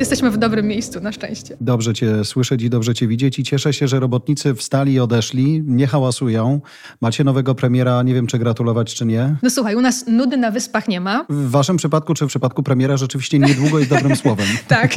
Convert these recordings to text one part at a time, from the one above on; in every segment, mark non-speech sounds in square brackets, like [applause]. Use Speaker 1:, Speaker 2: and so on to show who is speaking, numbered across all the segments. Speaker 1: Jesteśmy w dobrym miejscu, na szczęście.
Speaker 2: Dobrze Cię słyszeć i dobrze Cię widzieć i cieszę się, że robotnicy wstali i odeszli, nie hałasują. Macie nowego premiera, nie wiem czy gratulować, czy nie.
Speaker 1: No słuchaj, u nas nudy na wyspach nie ma.
Speaker 2: W Waszym przypadku, czy w przypadku premiera, rzeczywiście niedługo jest dobrym słowem.
Speaker 1: Tak.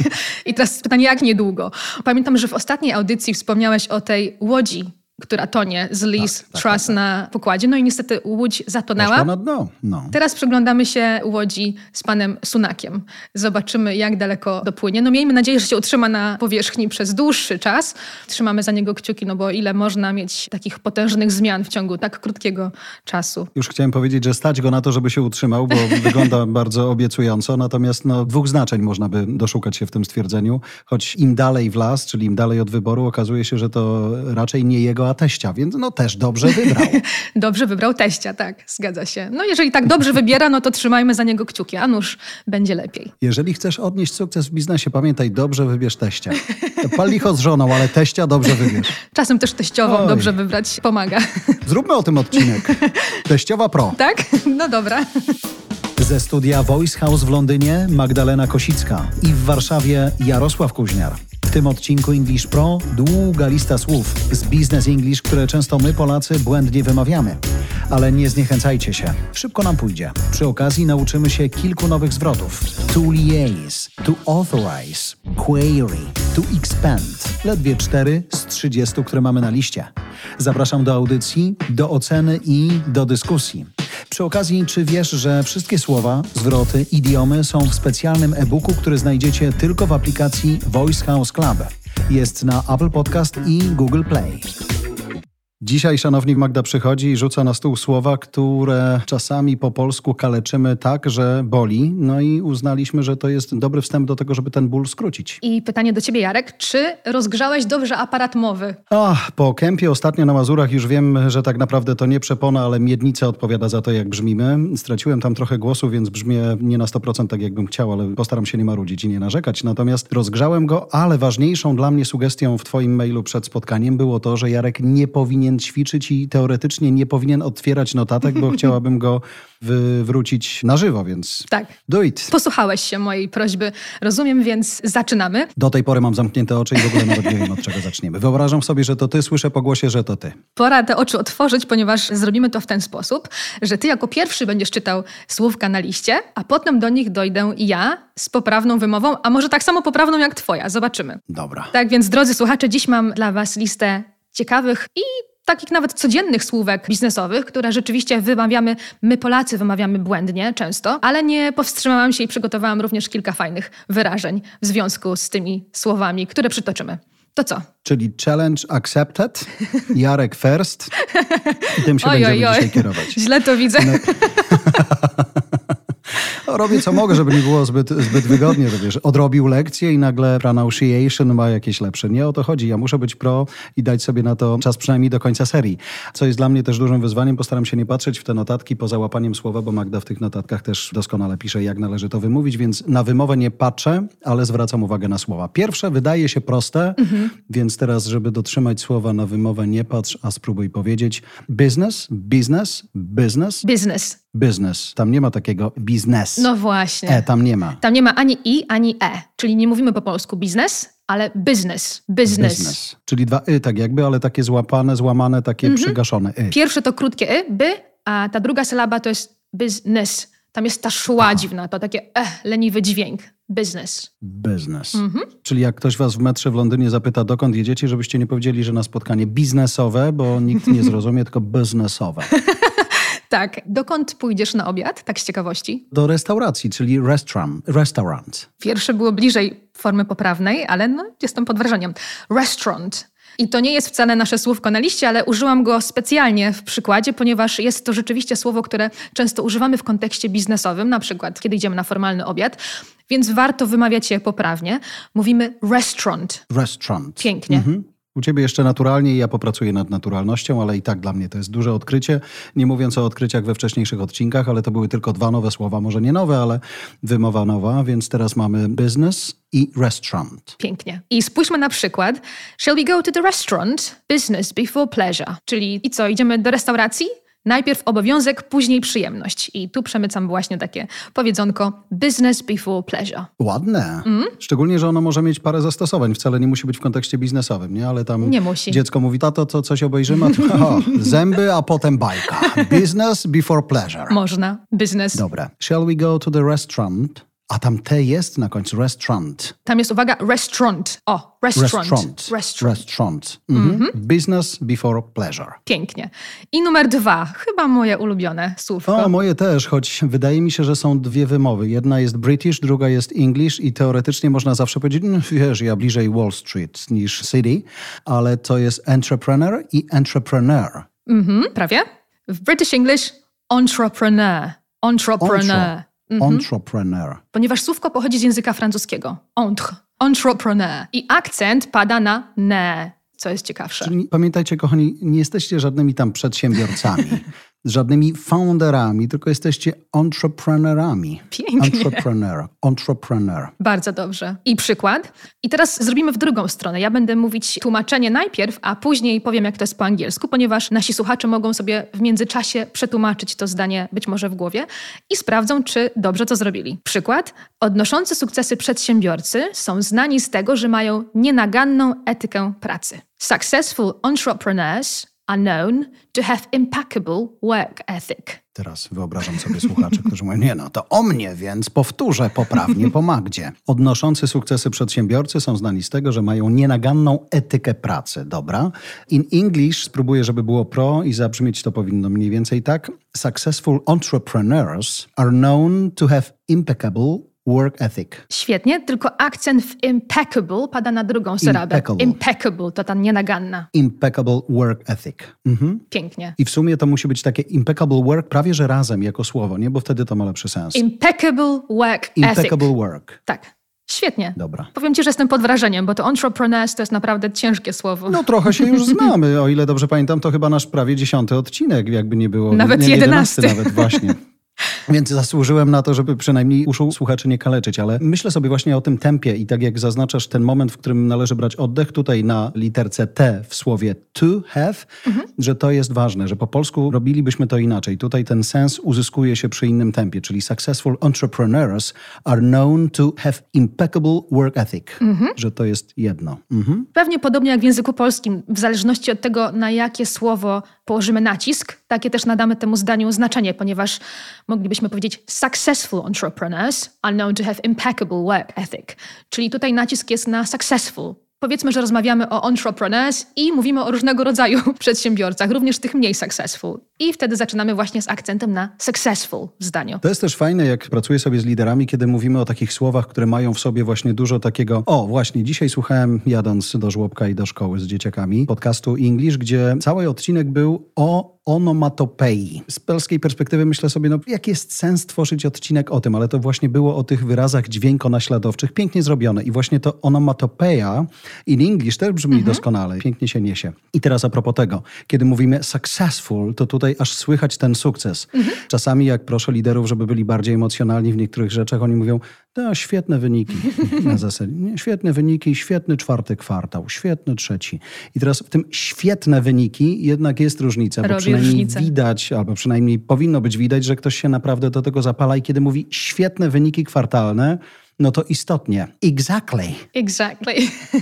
Speaker 1: I teraz pytanie, jak niedługo? Pamiętam, że w ostatniej audycji wspomniałeś o tej łodzi, która tonie z Liz
Speaker 2: tak,
Speaker 1: Truss na pokładzie. No i niestety łódź
Speaker 2: Poszła
Speaker 1: zatonęła.
Speaker 2: na dno. No.
Speaker 1: Teraz przyglądamy się łodzi z panem Sunakiem. Zobaczymy, jak daleko dopłynie. No miejmy nadzieję, że się utrzyma na powierzchni przez dłuższy czas. Trzymamy za niego kciuki, no bo ile można mieć takich potężnych zmian w ciągu tak krótkiego czasu.
Speaker 2: Już chciałem powiedzieć, że stać go na to, żeby się utrzymał, bo [laughs] wygląda bardzo obiecująco. Natomiast no, dwóch znaczeń można by doszukać się w tym stwierdzeniu. Choć im dalej w las, czyli im dalej od wyboru, okazuje się, że to raczej nie jego, a teścia. Więc no też dobrze wybrał.
Speaker 1: Dobrze wybrał teścia, tak, zgadza się. No jeżeli tak dobrze wybiera, no to trzymajmy za niego kciuki, a nuż będzie lepiej.
Speaker 2: Jeżeli chcesz odnieść sukces w biznesie, pamiętaj, dobrze wybierz teścia. Pal licho z żoną, ale teścia dobrze wybierz.
Speaker 1: Czasem też teściową
Speaker 2: Oj.
Speaker 1: dobrze wybrać pomaga, [laughs]
Speaker 2: Zróbmy o tym odcinek. Teściowa Pro.
Speaker 1: tak? No dobra.
Speaker 2: Ze studia Voice House w Londynie Magdalena Kosicka i w Warszawie Jarosław Kuźniar. W tym odcinku English Pro długa lista słów z Business English, które często my Polacy błędnie wymawiamy. Ale nie zniechęcajcie się, szybko nam pójdzie. Przy okazji nauczymy się kilku nowych zwrotów. To liaise, to authorize, query, to expand. Ledwie cztery z 30, które mamy na liście. Zapraszam do audycji, do oceny i do dyskusji. Przy okazji, czy wiesz, że wszystkie słowa, zwroty, idiomy są w specjalnym e-booku, który znajdziecie tylko w aplikacji Voice House Club? Jest na Apple Podcast i Google Play. Dzisiaj szanownik Magda przychodzi i rzuca na stół słowa, które czasami po polsku kaleczymy tak, że boli. No i uznaliśmy, że to jest dobry wstęp do tego, żeby ten ból skrócić.
Speaker 1: I pytanie do ciebie, Jarek. Czy rozgrzałeś dobrze aparat mowy?
Speaker 2: Ach, po kępie ostatnio na Mazurach już wiem, że tak naprawdę to nie przepona, ale miednica odpowiada za to, jak brzmimy. Straciłem tam trochę głosu, więc brzmię nie na 100% tak, jakbym chciał, ale postaram się nie marudzić i nie narzekać. Natomiast rozgrzałem go, ale ważniejszą dla mnie sugestią w twoim mailu przed spotkaniem było to, że Jarek nie powinien ćwiczyć i teoretycznie nie powinien otwierać notatek, bo chciałabym go wywrócić na żywo, więc
Speaker 1: Tak.
Speaker 2: do it.
Speaker 1: Posłuchałeś się mojej prośby, rozumiem, więc zaczynamy.
Speaker 2: Do tej pory mam zamknięte oczy i w ogóle nawet nie wiem, od czego zaczniemy. Wyobrażam sobie, że to ty, słyszę po głosie, że to ty.
Speaker 1: Pora te oczy otworzyć, ponieważ zrobimy to w ten sposób, że ty jako pierwszy będziesz czytał słówka na liście, a potem do nich dojdę ja z poprawną wymową, a może tak samo poprawną jak twoja. Zobaczymy.
Speaker 2: Dobra.
Speaker 1: Tak więc, drodzy słuchacze, dziś mam dla Was listę ciekawych i takich nawet codziennych słówek biznesowych, które rzeczywiście wymawiamy, my Polacy wymawiamy błędnie często, ale nie powstrzymałam się i przygotowałam również kilka fajnych wyrażeń w związku z tymi słowami, które przytoczymy. To co?
Speaker 2: czyli Challenge Accepted, Jarek First i tym się będziemy dzisiaj kierować.
Speaker 1: [laughs]
Speaker 2: No.
Speaker 1: źle to widzę.
Speaker 2: Robię co mogę, żeby nie było zbyt, zbyt wygodnie, że wiesz, odrobił lekcję i nagle pronunciation ma jakieś lepsze. Nie o to chodzi, ja muszę być pro i dać sobie na to czas przynajmniej do końca serii. Co jest dla mnie też dużym wyzwaniem, postaram się nie patrzeć w te notatki poza łapaniem słowa, bo Magda w tych notatkach też doskonale pisze, jak należy to wymówić, więc na wymowę nie patrzę, ale zwracam uwagę na słowa. Pierwsze wydaje się proste, więc teraz, żeby dotrzymać słowa na wymowę nie patrz, a spróbuj powiedzieć business, business, business,
Speaker 1: Biznes.
Speaker 2: business. Tam nie ma takiego biznes.
Speaker 1: No właśnie.
Speaker 2: E, tam nie ma.
Speaker 1: Tam nie ma ani i, ani e, czyli nie mówimy po polsku biznes, ale biznes. Biznes.
Speaker 2: Biznes. Czyli dwa y tak jakby, ale takie złapane, złamane, takie przygaszone y.
Speaker 1: Pierwsze to krótkie y, by, a ta druga sylaba to jest biznes. Tam jest ta szła dziwna, to takie e, leniwy dźwięk. Biznes.
Speaker 2: Biznes. Czyli jak ktoś was w metrze w Londynie zapyta, dokąd jedziecie, żebyście nie powiedzieli, że na spotkanie biznesowe, bo nikt nie zrozumie, tylko biznesowe.
Speaker 1: Tak, dokąd pójdziesz na obiad? Tak z ciekawości.
Speaker 2: Do restauracji, czyli restaurant. restaurant.
Speaker 1: Pierwsze było bliżej formy poprawnej, ale no, jestem pod wrażeniem. Restaurant. I to nie jest wcale nasze słówko na liście, ale użyłam go specjalnie w przykładzie, ponieważ jest to rzeczywiście słowo, które często używamy w kontekście biznesowym, na przykład kiedy idziemy na formalny obiad, więc warto wymawiać je poprawnie. Mówimy restaurant.
Speaker 2: Restaurant.
Speaker 1: Pięknie.
Speaker 2: Hmm? U ciebie jeszcze naturalnie, ja popracuję nad naturalnością, ale i tak dla mnie to jest duże odkrycie. Nie mówiąc o odkryciach we wcześniejszych odcinkach, ale to były tylko dwa nowe słowa, może nie nowe, ale wymowa nowa, więc teraz mamy biznes i restaurant.
Speaker 1: Pięknie. I spójrzmy na przykład. Shall we go to the restaurant? Business before pleasure. Czyli i co, idziemy do restauracji? Najpierw obowiązek, później przyjemność. I tu przemycam właśnie takie powiedzonko business before pleasure.
Speaker 2: Ładne.
Speaker 1: Mhm.
Speaker 2: Szczególnie, że ono może mieć parę zastosowań. Wcale nie musi być w kontekście biznesowym, nie? Ale tam
Speaker 1: Nie musi.
Speaker 2: dziecko mówi, tato, to coś obejrzymy, a tu, [laughs] o, zęby, a potem bajka. Business before pleasure.
Speaker 1: Można. Biznes.
Speaker 2: Dobra. Shall we go to the restaurant? A tam T jest na końcu. Restaurant.
Speaker 1: Tam jest uwaga, restaurant. O, restaurant.
Speaker 2: Restaurant.
Speaker 1: Restaurant.
Speaker 2: Restaurant. Mhm. Business before pleasure.
Speaker 1: Pięknie. I numer dwa, chyba moje ulubione słówko.
Speaker 2: O, No, moje też, choć wydaje mi się, że są dwie wymowy. Jedna jest British, druga jest English i teoretycznie można zawsze powiedzieć, no, wiesz, ja bliżej Wall Street niż City, ale to jest entrepreneur i entrepreneur.
Speaker 1: Mhm, prawie. W British English entrepreneur. Entrepreneur. Mhm.
Speaker 2: Entre. Entrepreneur.
Speaker 1: Ponieważ słówko pochodzi z języka francuskiego. Entre. Entrepreneur. I akcent pada na ne, co jest ciekawsze.
Speaker 2: Czyli pamiętajcie, kochani, nie jesteście żadnymi tam przedsiębiorcami,
Speaker 1: [laughs]
Speaker 2: żadnymi founderami, tylko jesteście entrepreneurami.
Speaker 1: Pięknie.
Speaker 2: Entrepreneur. Entrepreneur.
Speaker 1: Bardzo dobrze. I przykład. I teraz zrobimy w drugą stronę. Ja będę mówić tłumaczenie najpierw, a później powiem, jak to jest po angielsku, ponieważ nasi słuchacze mogą sobie w międzyczasie przetłumaczyć to zdanie być może w głowie i sprawdzą, czy dobrze to zrobili. Przykład. Odnoszący sukcesy przedsiębiorcy są znani z tego, że mają nienaganną etykę pracy. Successful entrepreneurs are known to have impeccable work ethic.
Speaker 2: Teraz wyobrażam sobie słuchaczy, którzy mówią, nie no, to o mnie, więc powtórzę poprawnie po Magdzie. Odnoszący sukcesy przedsiębiorcy są znani z tego, że mają nienaganną etykę pracy, dobra? In English spróbuję, żeby było pro i zabrzmieć to powinno mniej więcej tak. Successful entrepreneurs are known to have impeccable work ethic.
Speaker 1: Świetnie, tylko akcent w impeccable pada na drugą syrabę.
Speaker 2: Impeccable.
Speaker 1: impeccable to ta nienaganna.
Speaker 2: Impeccable work ethic. Mhm.
Speaker 1: Pięknie.
Speaker 2: I w sumie to musi być takie impeccable work prawie że razem jako słowo, nie? Bo wtedy to ma lepszy sens.
Speaker 1: Impeccable work
Speaker 2: Impeccable
Speaker 1: ethic.
Speaker 2: work.
Speaker 1: Tak, świetnie.
Speaker 2: Dobra.
Speaker 1: Powiem ci, że jestem pod wrażeniem, bo to entrepreneurs to jest naprawdę ciężkie słowo.
Speaker 2: No trochę się
Speaker 1: [laughs]
Speaker 2: już znamy, o ile dobrze pamiętam, to chyba nasz prawie dziesiąty odcinek, jakby nie było.
Speaker 1: Nawet
Speaker 2: nie, nie,
Speaker 1: jedenasty. [laughs]
Speaker 2: Nawet właśnie. Więc zasłużyłem na to, żeby przynajmniej uszu słuchaczy nie kaleczyć, ale myślę sobie właśnie o tym tempie i tak jak zaznaczasz ten moment, w którym należy brać oddech, tutaj na literce T w słowie to have,
Speaker 1: Mhm.
Speaker 2: że to jest ważne, że po polsku robilibyśmy to inaczej. Tutaj ten sens uzyskuje się przy innym tempie, czyli successful entrepreneurs are known to have impeccable work ethic,
Speaker 1: Mhm.
Speaker 2: że to jest jedno. Mhm.
Speaker 1: Pewnie podobnie jak w języku polskim, w zależności od tego, na jakie słowo położymy nacisk, takie też nadamy temu zdaniu znaczenie, ponieważ moglibyśmy powiedzieć successful entrepreneurs are known to have impeccable work ethic. Czyli tutaj nacisk jest na successful. Powiedzmy, że rozmawiamy o entrepreneurs i mówimy o różnego rodzaju [laughs] przedsiębiorcach, również tych mniej successful. I wtedy zaczynamy właśnie z akcentem na successful w zdaniu.
Speaker 2: To jest też fajne, jak pracuję sobie z liderami, kiedy mówimy o takich słowach, które mają w sobie właśnie dużo takiego. O, właśnie, dzisiaj słuchałem, jadąc do żłobka i do szkoły z dzieciakami, podcastu English, gdzie cały odcinek był o onomatopei. Z polskiej perspektywy myślę sobie, no jaki jest sens tworzyć odcinek o tym, ale to właśnie było o tych wyrazach dźwiękonaśladowczych, pięknie zrobione. I właśnie to onomatopeja in English też brzmi
Speaker 1: Mhm.
Speaker 2: doskonale, pięknie się niesie. I teraz a propos tego, kiedy mówimy successful, to tutaj aż słychać ten sukces.
Speaker 1: Mhm.
Speaker 2: Czasami jak proszę liderów, żeby byli bardziej emocjonalni w niektórych rzeczach, oni mówią, to świetne
Speaker 1: [laughs]
Speaker 2: wyniki na zasadzie. Nie, świetne wyniki, świetny czwarty kwartał, świetny trzeci. I teraz w tym świetne wyniki jednak jest różnica, bo
Speaker 1: Robi
Speaker 2: przynajmniej
Speaker 1: różnicę.
Speaker 2: widać, albo przynajmniej powinno być widać, że ktoś się naprawdę do tego zapala i kiedy mówi świetne wyniki kwartalne, no to istotnie. Exactly.
Speaker 1: Exactly. [laughs]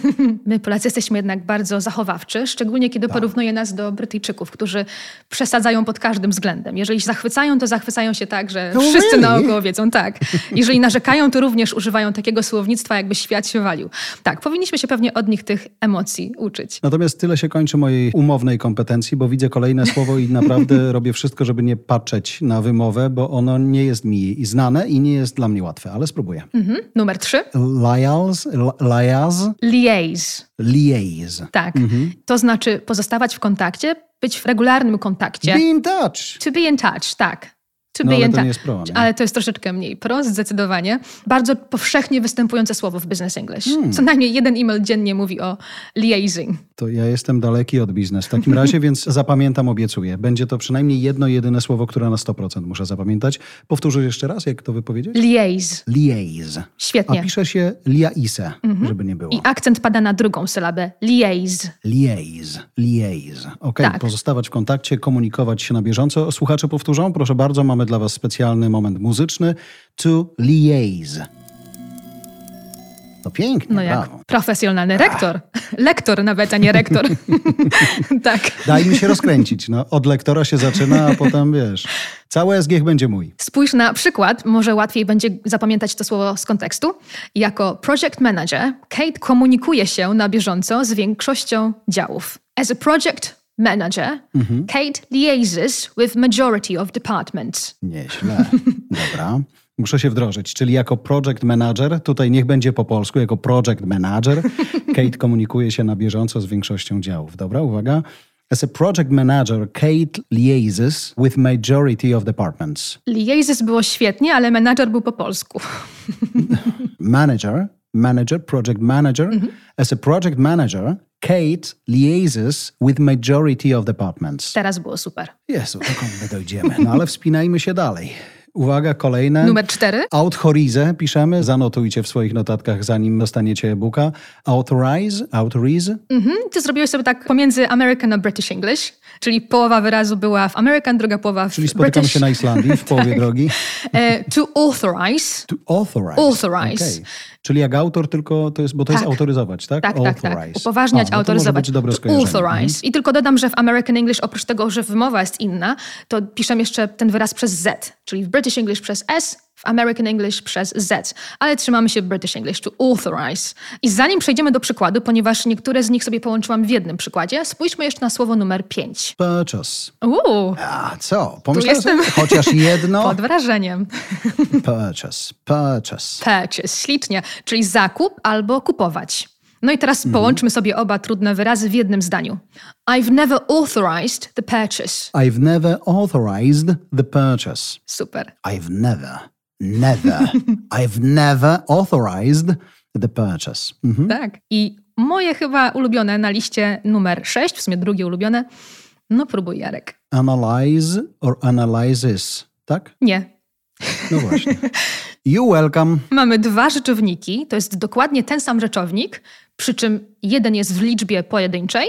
Speaker 1: My Polacy jesteśmy jednak bardzo zachowawczy, szczególnie
Speaker 2: Tak.
Speaker 1: kiedy porównuje nas do Brytyjczyków, którzy przesadzają pod każdym względem. Jeżeli się zachwycają, to zachwycają się tak, że
Speaker 2: No
Speaker 1: wszyscy
Speaker 2: really?
Speaker 1: naokoło wiedzą, tak. Jeżeli narzekają, to również używają takiego słownictwa, jakby świat się walił. Tak, powinniśmy się pewnie od nich tych emocji uczyć.
Speaker 2: Natomiast tyle się kończy mojej umownej kompetencji, bo widzę kolejne słowo i
Speaker 1: [laughs]
Speaker 2: naprawdę robię wszystko, żeby nie patrzeć na wymowę, bo ono nie jest mi znane i nie jest dla mnie łatwe, ale spróbuję.
Speaker 1: Mhm. Numer trzy.
Speaker 2: Lials, li- lias,
Speaker 1: Liaise.
Speaker 2: liaise.
Speaker 1: Tak.
Speaker 2: Mhm.
Speaker 1: To znaczy pozostawać w kontakcie, być w regularnym kontakcie.
Speaker 2: Be in touch.
Speaker 1: To be in touch, tak. Czy
Speaker 2: No, ale
Speaker 1: wyjęta.
Speaker 2: to nie jest pro, nie?
Speaker 1: Ale to jest troszeczkę mniej pro, zdecydowanie. Bardzo powszechnie występujące słowo w business English.
Speaker 2: Hmm.
Speaker 1: Co najmniej jeden e-mail dziennie mówi o liaising.
Speaker 2: To ja jestem daleki od biznesu w takim
Speaker 1: [laughs]
Speaker 2: razie, więc zapamiętam, obiecuję. Będzie to przynajmniej jedno, jedyne słowo, które na 100% muszę zapamiętać. Powtórzę jeszcze raz, jak to wypowiedzieć?
Speaker 1: Liaise.
Speaker 2: Liaise.
Speaker 1: Świetnie.
Speaker 2: A pisze się liaise,
Speaker 1: Mhm.
Speaker 2: żeby nie było.
Speaker 1: I akcent pada na drugą sylabę. Liaise.
Speaker 2: Liaise, liaise. Okej,
Speaker 1: Tak.
Speaker 2: pozostawać w kontakcie, komunikować się na bieżąco. Słuchacze powtórzą, proszę bardzo, mamy dla Was specjalny moment muzyczny. To liaise. To pięknie,
Speaker 1: No jak
Speaker 2: brawo.
Speaker 1: profesjonalny rektor. Lektor nawet, a nie
Speaker 2: [laughs]
Speaker 1: rektor. tak.
Speaker 2: Daj mi się rozkręcić. No, od lektora się zaczyna, a potem wiesz. Cały SGH będzie mój.
Speaker 1: Spójrz na przykład, może łatwiej będzie zapamiętać to słowo z kontekstu. Jako project manager, Kate komunikuje się na bieżąco z większością działów. As a project manager,
Speaker 2: Mhm.
Speaker 1: Kate liaises with majority of departments.
Speaker 2: Nieźle. Dobra. Muszę się wdrożyć, czyli jako project manager, tutaj niech będzie po polsku, jako project manager, Kate komunikuje się na bieżąco z większością działów. Dobra, uwaga. As a project manager, Kate liaises with majority of departments.
Speaker 1: Liaises było świetnie, ale menadżer był po polsku.
Speaker 2: Manager, manager, project manager. As a project manager, Kate liaises with majority of departments.
Speaker 1: Teraz było super.
Speaker 2: Jezu, dokąd my dojdziemy? No ale wspinajmy się dalej. Uwaga, kolejne.
Speaker 1: Numer cztery.
Speaker 2: Authorize piszemy, zanotujcie w swoich notatkach, zanim dostaniecie e-booka. Authorize, authorize.
Speaker 1: Mhm, Ty zrobiłeś sobie tak pomiędzy American a British English, czyli połowa wyrazu była w American, druga połowa w
Speaker 2: Czyli spotykamy
Speaker 1: British. Tak.
Speaker 2: się na Islandii w
Speaker 1: [laughs]
Speaker 2: połowie drogi.
Speaker 1: E, to authorize.
Speaker 2: To authorize.
Speaker 1: Authorize.
Speaker 2: Okej. Czyli jak autor, tylko to jest, bo to jest
Speaker 1: Tak.
Speaker 2: autoryzować, tak?
Speaker 1: Tak, tak,
Speaker 2: authorize.
Speaker 1: tak. Upoważniać,
Speaker 2: A, no
Speaker 1: autoryzować.
Speaker 2: To może być dobre
Speaker 1: To
Speaker 2: skojarzenie. Mhm.
Speaker 1: authorize. I tylko dodam, że w American English oprócz tego, że wymowa jest inna, to piszę jeszcze ten wyraz przez Z, czyli w British English przez S, w American English przez Z. Ale trzymamy się British English to authorize. I zanim przejdziemy do przykładu, ponieważ niektóre z nich sobie połączyłam w jednym przykładzie, spójrzmy jeszcze na słowo numer 5.
Speaker 2: Purchase.
Speaker 1: Uuu,
Speaker 2: A co? Pomyślałem sobie,
Speaker 1: jestem.
Speaker 2: chociaż jedno.
Speaker 1: [laughs] pod wrażeniem.
Speaker 2: Purchase, purchase.
Speaker 1: purchase, ślicznie, czyli zakup albo kupować. No i teraz połączmy sobie oba trudne wyrazy w jednym zdaniu. I've never authorized the purchase.
Speaker 2: I've never authorized the purchase.
Speaker 1: Super.
Speaker 2: I've never, never, I've never authorized the purchase. Mhm.
Speaker 1: Tak. I moje chyba ulubione na liście numer 6, w sumie drugie ulubione. No próbuj Jarek.
Speaker 2: Analyze or analyzes, tak?
Speaker 1: Nie.
Speaker 2: No właśnie. You welcome.
Speaker 1: Mamy dwa rzeczowniki, to jest dokładnie ten sam rzeczownik, przy czym jeden jest w liczbie pojedynczej,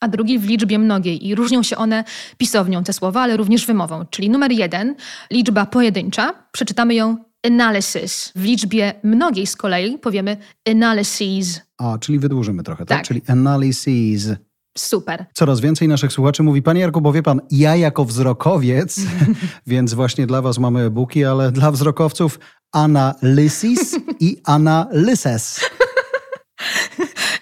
Speaker 1: a drugi w liczbie mnogiej i różnią się one pisownią te słowa, ale również wymową. Czyli numer jeden, liczba pojedyncza, przeczytamy ją analysis. W liczbie mnogiej z kolei powiemy analyses.
Speaker 2: A, czyli wydłużymy trochę, tak?
Speaker 1: Tak.
Speaker 2: Czyli analyses.
Speaker 1: Super.
Speaker 2: Coraz więcej naszych słuchaczy mówi, panie Jarku, bo wie pan, ja jako wzrokowiec, więc właśnie dla was mamy e-booki, ale dla wzrokowców analysis i analyses.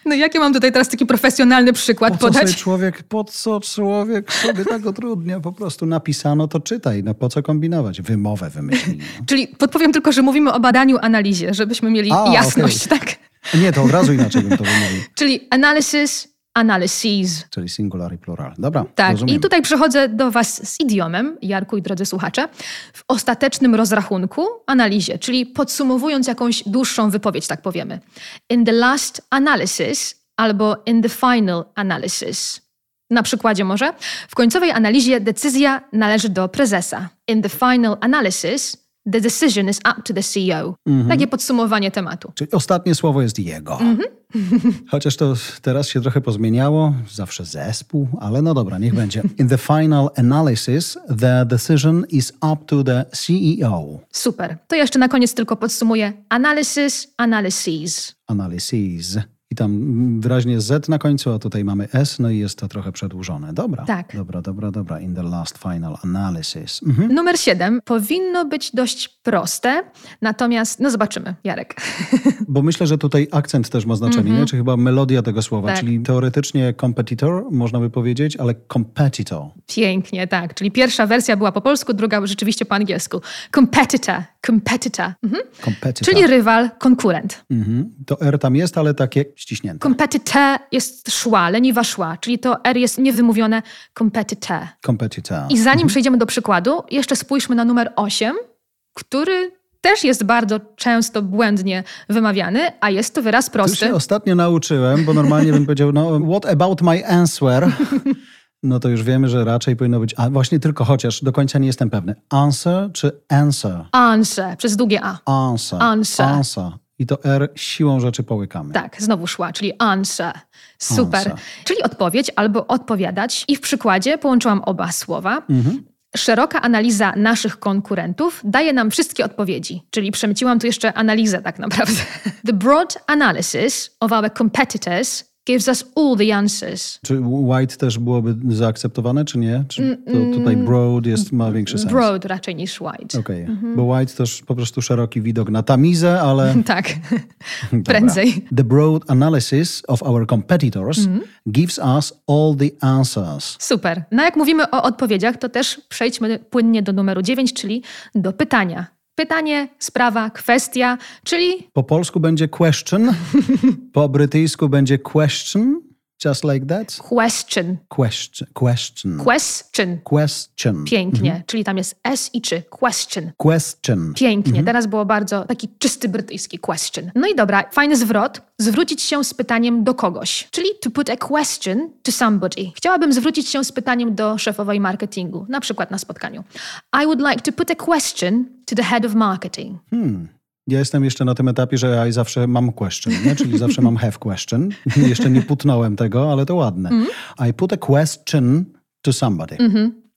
Speaker 1: No jakie mam tutaj teraz taki profesjonalny przykład
Speaker 2: Po co
Speaker 1: podać?
Speaker 2: sobie człowiek, po co człowiek sobie tak utrudnia? Po prostu napisano, to czytaj, no po co kombinować? Wymowę wymyślili. no.
Speaker 1: Czyli podpowiem tylko, że mówimy o badaniu, analizie, żebyśmy mieli
Speaker 2: A,
Speaker 1: jasność, tak?
Speaker 2: Nie, to od razu inaczej bym to wymówił.
Speaker 1: Czyli analysis, analyses.
Speaker 2: Czyli singular i plural. Dobra,
Speaker 1: Tak,
Speaker 2: rozumiem.
Speaker 1: i tutaj przechodzę do Was z idiomem, Jarku i drodzy słuchacze, w ostatecznym rozrachunku, analizie, czyli podsumowując jakąś dłuższą wypowiedź, tak powiemy. In the last analysis albo in the final analysis. Na przykładzie może, w końcowej analizie decyzja należy do prezesa. In the final analysis, the decision is up to the CEO. Takie podsumowanie tematu.
Speaker 2: Czyli ostatnie słowo jest jego.
Speaker 1: Mhm.
Speaker 2: Chociaż to teraz się trochę pozmieniało, zawsze zespół, ale no dobra, niech będzie. In the final analysis, the decision is up to the E CEO.
Speaker 1: Super. To jeszcze na koniec tylko podsumuję. Analysis, analyses.
Speaker 2: Analysis. I tam wyraźnie Z na końcu, a tutaj mamy S, no i jest to trochę przedłużone. Dobra.
Speaker 1: Tak.
Speaker 2: Dobra, dobra, dobra. In the last final analysis. Mhm.
Speaker 1: Numer 7 powinno być dość proste, natomiast, no zobaczymy, Jarek. [laughs]
Speaker 2: Bo myślę, że tutaj akcent też ma znaczenie, nie? czy chyba melodia tego słowa,
Speaker 1: Mhm. Tak.
Speaker 2: czyli teoretycznie competitor, można by powiedzieć, ale competitor.
Speaker 1: Pięknie, tak. Czyli pierwsza wersja była po polsku, druga rzeczywiście po angielsku. Competitor, competitor. Mhm.
Speaker 2: competitor.
Speaker 1: Czyli rywal, konkurent.
Speaker 2: Mhm. To R tam jest, ale takie ściśnięte.
Speaker 1: Competite jest szła, leniwa szła, czyli to R jest niewymówione competite.
Speaker 2: Competitor.
Speaker 1: I zanim przejdziemy do przykładu, jeszcze spójrzmy na numer 8, który też jest bardzo często błędnie wymawiany, a jest to wyraz
Speaker 2: Tu się
Speaker 1: prosty.
Speaker 2: ostatnio nauczyłem, bo normalnie bym powiedział, no what about my answer? No to już wiemy, że raczej powinno być, a właśnie tylko chociaż, do końca nie jestem pewny. Answer czy answer?
Speaker 1: Answer, przez długie A.
Speaker 2: Answer.
Speaker 1: Answer.
Speaker 2: Answer. I to R siłą rzeczy połykamy.
Speaker 1: Tak, znowu szła, czyli answer. Super.
Speaker 2: Answer.
Speaker 1: Czyli odpowiedź albo odpowiadać. I w przykładzie połączyłam oba słowa. Szeroka analiza naszych konkurentów daje nam wszystkie odpowiedzi, czyli przemyciłam tu jeszcze analizę tak naprawdę. [laughs] The broad analysis of our competitors gives us all the answers.
Speaker 2: Czy white też byłoby zaakceptowane, czy nie? Czy to tutaj broad jest, ma większy sens?
Speaker 1: Mm, Broad Mhm. raczej niż wide.
Speaker 2: Okej, bo white też po prostu szeroki widok na tamizę, ale...
Speaker 1: Tak,
Speaker 2: Dobra.
Speaker 1: prędzej.
Speaker 2: The broad analysis of our competitors
Speaker 1: Mhm.
Speaker 2: gives us all the answers.
Speaker 1: Super. No jak mówimy o odpowiedziach, to też przejdźmy płynnie do numeru 9, czyli do pytania. Pytanie, sprawa, kwestia, czyli
Speaker 2: Po polsku będzie question, po brytyjsku będzie question, just like that.
Speaker 1: question.
Speaker 2: Question, question,
Speaker 1: Question.
Speaker 2: question,
Speaker 1: Pięknie. Czyli tam jest S i czy. Question.
Speaker 2: question.
Speaker 1: Pięknie. Teraz było bardzo taki czysty brytyjski question. No i dobra, fajny zwrot. Zwrócić się z pytaniem do kogoś. Czyli to put a question to somebody. Chciałabym zwrócić się z pytaniem do szefowej marketingu, na przykład na spotkaniu. I would like to put a question to the head of marketing.
Speaker 2: Hmm. Ja jestem jeszcze na tym etapie, że ja zawsze mam question, nie? czyli zawsze mam have question. [laughs] jeszcze nie putnąłem tego, ale to ładne. I put a question to somebody.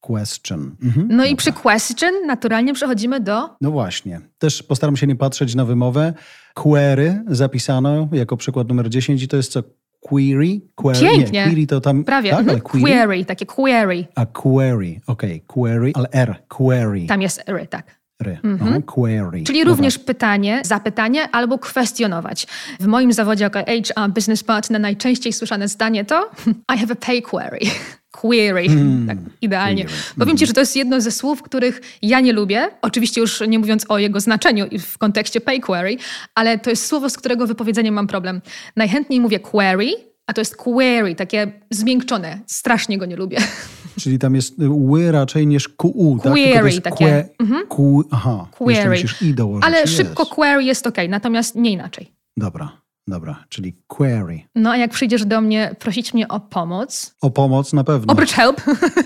Speaker 2: Question. Mhm.
Speaker 1: No i przy question naturalnie przechodzimy do
Speaker 2: No właśnie. Też postaram się nie patrzeć na wymowę. Query zapisano jako przykład numer 10 i to jest co? Query? query?
Speaker 1: Pięknie.
Speaker 2: Nie, query to tam...
Speaker 1: prawie
Speaker 2: Tak, ale
Speaker 1: mhm.
Speaker 2: query?
Speaker 1: query, takie query.
Speaker 2: A query, okej. Query, ale R. Query.
Speaker 1: Tam jest ry, tak.
Speaker 2: Ry. Aha, query.
Speaker 1: Czyli również pytanie, zapytanie albo kwestionować. W moim zawodzie jako HR business partner najczęściej słyszane zdanie to "Hmm, I have a pay query. [laughs] Query, tak idealnie. Powiem ci, że to jest jedno ze słów, których ja nie lubię, oczywiście już nie mówiąc o jego znaczeniu i w kontekście pay query, ale to jest słowo, z którego wypowiedzeniem mam problem. Najchętniej mówię query, a to jest query, takie zmiękczone. Strasznie go nie lubię.
Speaker 2: Czyli tam jest y, ły raczej niż QU, tak? Tylko to
Speaker 1: Query
Speaker 2: jest
Speaker 1: takie. Mhm.
Speaker 2: Que, Q, aha, jeszcze
Speaker 1: Query.
Speaker 2: musisz i dołożyć.
Speaker 1: Ale
Speaker 2: Jest.
Speaker 1: szybko query jest ok, natomiast nie inaczej.
Speaker 2: Dobra, dobra, czyli query.
Speaker 1: No a jak przyjdziesz do mnie prosić mnie o pomoc,
Speaker 2: O pomoc na pewno.
Speaker 1: oprócz help,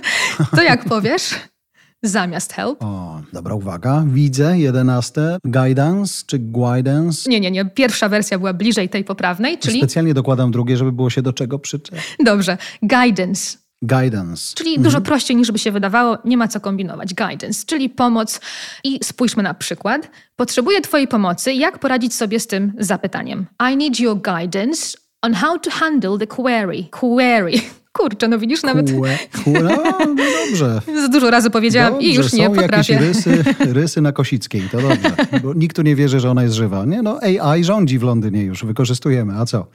Speaker 1: [laughs] to jak powiesz? Zamiast help.
Speaker 2: O, dobra uwaga. Widzę, jedenaste. Guidance czy guidance?
Speaker 1: Nie, nie, nie. Pierwsza wersja była bliżej tej poprawnej, czyli
Speaker 2: Specjalnie dokładam drugie, żeby było się do czego przyczepić.
Speaker 1: dobrze, guidance.
Speaker 2: Guidance.
Speaker 1: Czyli dużo prościej niż by się wydawało, nie ma co kombinować. Guidance, czyli pomoc. I spójrzmy na przykład. Potrzebuję Twojej pomocy, jak poradzić sobie z tym zapytaniem. I need your guidance on how to handle the query. Query. [laughs] Kurczę, no widzisz, nawet
Speaker 2: Kue, kue, no, no dobrze.
Speaker 1: za dużo razy [laughs] powiedziałam
Speaker 2: Dobrze,
Speaker 1: i już nie
Speaker 2: są
Speaker 1: potrafię.
Speaker 2: jakieś rysy, rysy na Kosickiej, to dobrze. Bo nikt tu nie wierzy, że ona jest żywa. Nie, no AI rządzi w Londynie już, wykorzystujemy. A co?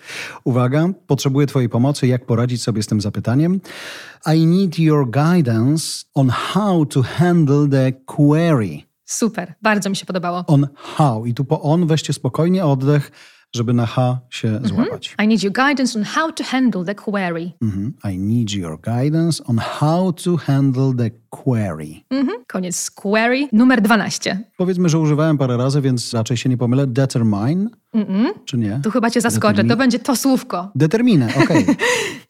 Speaker 2: Uwaga, potrzebuję twojej pomocy, jak poradzić sobie z tym zapytaniem. I need your guidance on how to handle the query.
Speaker 1: Super, bardzo mi się podobało.
Speaker 2: On how. I tu po on weźcie spokojnie oddech, żeby na H się
Speaker 1: Mhm.
Speaker 2: złapać.
Speaker 1: I need your guidance on how to handle the query.
Speaker 2: Mhm. I need your guidance on how to handle the query.
Speaker 1: Mhm. Koniec query. Numer 12.
Speaker 2: Powiedzmy, że używałem parę razy, więc raczej się nie pomylę. Determine? Czy nie?
Speaker 1: Tu chyba cię zaskoczę.
Speaker 2: Mhm.
Speaker 1: To będzie to słówko.
Speaker 2: Determine,
Speaker 1: [laughs]
Speaker 2: okej.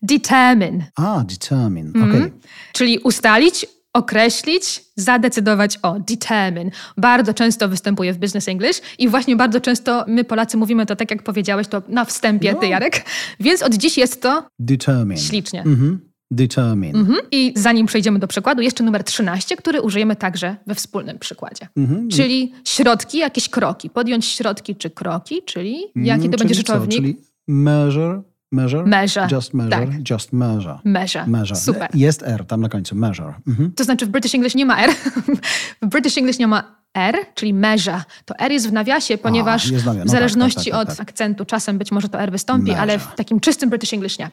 Speaker 1: Determine,
Speaker 2: A, determine, okej.
Speaker 1: Mhm. czyli ustalić, określić, zadecydować o. Determine. Bardzo często występuje w Business English i właśnie bardzo często my Polacy mówimy to tak, jak powiedziałeś to na wstępie,
Speaker 2: No.
Speaker 1: ty Jarek. Więc od dziś jest to
Speaker 2: Determine.
Speaker 1: ślicznie.
Speaker 2: Mhm. Determine.
Speaker 1: Mhm. I zanim przejdziemy do przykładu, jeszcze numer 13, który użyjemy także we wspólnym przykładzie.
Speaker 2: Mhm.
Speaker 1: Czyli środki, jakieś kroki. Podjąć środki czy kroki, czyli jaki to
Speaker 2: Mm,
Speaker 1: będzie
Speaker 2: czyli co?
Speaker 1: rzeczownik?
Speaker 2: Czyli measure, measure?
Speaker 1: Measure,
Speaker 2: Just measure,
Speaker 1: tak.
Speaker 2: just measure.
Speaker 1: Measure.
Speaker 2: Measure.
Speaker 1: Super.
Speaker 2: Jest R tam na końcu, measure. Mhm.
Speaker 1: To znaczy w British English nie ma R. [laughs] w British English nie ma R, czyli measure. To R jest w nawiasie, ponieważ
Speaker 2: jest w nawiasie. No
Speaker 1: w
Speaker 2: tak,
Speaker 1: zależności
Speaker 2: tak, tak,
Speaker 1: od
Speaker 2: tak, tak.
Speaker 1: akcentu czasem być może to R wystąpi,
Speaker 2: Measure.
Speaker 1: ale w takim czystym British English nie.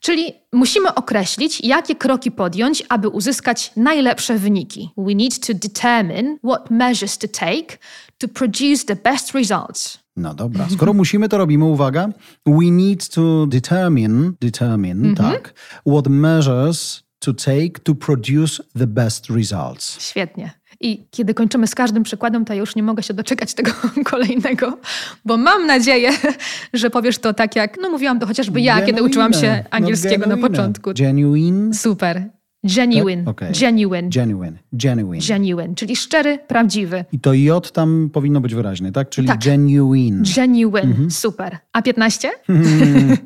Speaker 1: Czyli musimy określić, jakie kroki podjąć, aby uzyskać najlepsze wyniki. We need to determine what measures to take to produce the best results.
Speaker 2: No dobra, skoro musimy, to robimy, uwaga. We need to determine,
Speaker 1: Mhm.
Speaker 2: determine, tak, what measures to take to produce the best results.
Speaker 1: Świetnie. I kiedy kończymy z każdym przykładem, to ja już nie mogę się doczekać tego [laughs] kolejnego, bo mam nadzieję, [laughs] że powiesz to tak jak, no mówiłam to chociażby ja, kiedy
Speaker 2: Genuine.
Speaker 1: uczyłam się
Speaker 2: No,
Speaker 1: angielskiego na
Speaker 2: genuine.
Speaker 1: początku.
Speaker 2: Genuine,
Speaker 1: Super. Genuine.
Speaker 2: Tak? Okej.
Speaker 1: Genuine.
Speaker 2: genuine, genuine.
Speaker 1: Genuine, czyli szczery, prawdziwy.
Speaker 2: I to J tam powinno być wyraźne, tak? Czyli
Speaker 1: Tak.
Speaker 2: genuine.
Speaker 1: Genuine,
Speaker 2: Mhm.
Speaker 1: super. A 15?
Speaker 2: Hmm.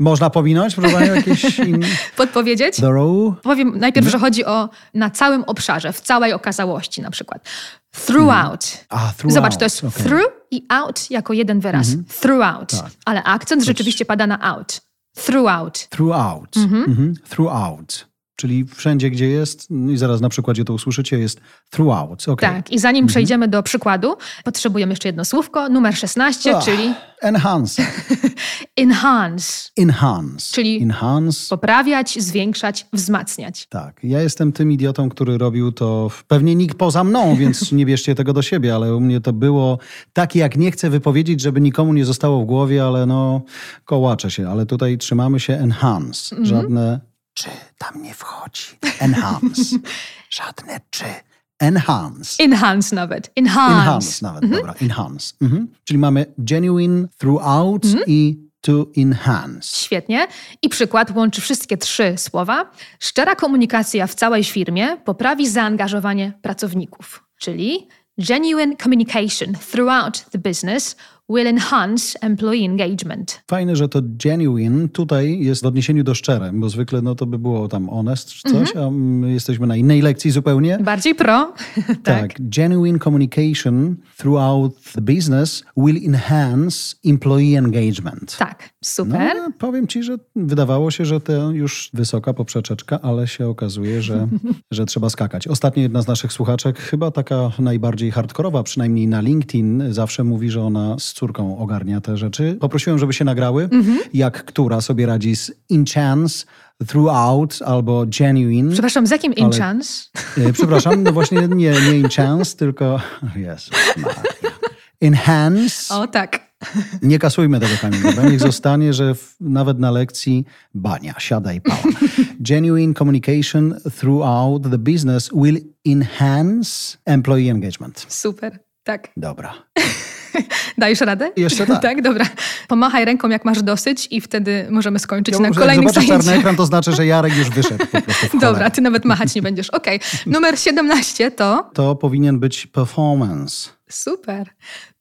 Speaker 2: Można powinąć, próbowanie
Speaker 1: [laughs]
Speaker 2: jakieś inne.
Speaker 1: Podpowiedzieć?
Speaker 2: The row.
Speaker 1: Powiem najpierw,
Speaker 2: Hmm.
Speaker 1: że chodzi o na całym obszarze, w całej okazałości na przykład. Throughout.
Speaker 2: A, throughout.
Speaker 1: Zobacz, to jest
Speaker 2: okej.
Speaker 1: through i out jako jeden wyraz. Throughout.
Speaker 2: Tak.
Speaker 1: Ale akcent rzeczywiście pada na out. Throughout.
Speaker 2: Throughout. Mhm. Throughout. Czyli wszędzie, gdzie jest, no i zaraz na przykładzie to usłyszycie, jest throughout. Okay.
Speaker 1: Tak. I
Speaker 2: Mhm.
Speaker 1: zanim przejdziemy do przykładu, potrzebujemy jeszcze jedno słówko, numer 16,
Speaker 2: Ach,
Speaker 1: czyli
Speaker 2: Enhance.
Speaker 1: enhance.
Speaker 2: Enhance.
Speaker 1: Czyli-
Speaker 2: Enhance.
Speaker 1: Poprawiać, zwiększać, wzmacniać.
Speaker 2: Tak. Ja jestem tym idiotą, który robił to w- pewnie nikt
Speaker 1: [laughs]
Speaker 2: poza mną, więc nie bierzcie tego do siebie, ale u mnie to było takie, jak nie chcę wypowiedzieć, żeby nikomu nie zostało w głowie, ale no, kołacze się. Ale tutaj trzymamy się enhance.
Speaker 1: Mhm.
Speaker 2: Żadne czy tam nie wchodzi.
Speaker 1: [laughs]
Speaker 2: Enhance. Żadne czy. Enhance.
Speaker 1: Enhance nawet. Enhance.
Speaker 2: Enhance nawet, dobra, enhance. Mhm. Czyli mamy genuine throughout
Speaker 1: Mhm.
Speaker 2: i to enhance.
Speaker 1: Świetnie. I przykład łączy wszystkie trzy słowa. Szczera komunikacja w całej firmie poprawi zaangażowanie pracowników, czyli genuine communication throughout the business will enhance employee engagement.
Speaker 2: Fajne, że to genuine tutaj jest w odniesieniu do szczere, bo zwykle no to by było tam honest czy coś, a my jesteśmy na innej lekcji zupełnie.
Speaker 1: Bardziej pro. [laughs] tak.
Speaker 2: Genuine communication throughout the business will enhance employee engagement.
Speaker 1: Tak,
Speaker 2: No,
Speaker 1: super.
Speaker 2: powiem ci, że wydawało się, że to już wysoka poprzeczeczka, ale się
Speaker 1: [laughs]
Speaker 2: okazuje, że, że trzeba skakać. Ostatnio jedna z naszych słuchaczek, chyba taka najbardziej hardkorowa, przynajmniej na LinkedIn, zawsze mówi, że ona z córką ogarnia te rzeczy. Poprosiłem, żeby się nagrały,
Speaker 1: Mhm.
Speaker 2: jak która sobie radzi z enchance, throughout albo genuine.
Speaker 1: Przepraszam, z jakim enhance?
Speaker 2: E, Przepraszam, no właśnie nie, nie
Speaker 1: [laughs]
Speaker 2: enchance, tylko... Jezus Maria. Enhance.
Speaker 1: O tak.
Speaker 2: Nie kasujmy tego kamienia. [laughs] Niech zostanie, że w, nawet na lekcji bania, siada
Speaker 1: [laughs]
Speaker 2: i pała. Genuine communication throughout the business will enhance employee engagement.
Speaker 1: Super. Tak.
Speaker 2: Dobra.
Speaker 1: Dajesz radę?
Speaker 2: Jeszcze
Speaker 1: [laughs]
Speaker 2: tak.
Speaker 1: tak, dobra. Pomachaj ręką, jak masz dosyć i wtedy możemy skończyć na
Speaker 2: Jak
Speaker 1: kolejnych
Speaker 2: zobaczę
Speaker 1: zajęciach.
Speaker 2: czarny ekran, [laughs] to znaczy, że Jarek już wyszedł po prostu w
Speaker 1: [laughs] Dobra,
Speaker 2: cholerę.
Speaker 1: ty nawet machać nie będziesz. Okej.
Speaker 2: [laughs]
Speaker 1: Numer 17 to
Speaker 2: To powinien być performance.
Speaker 1: super.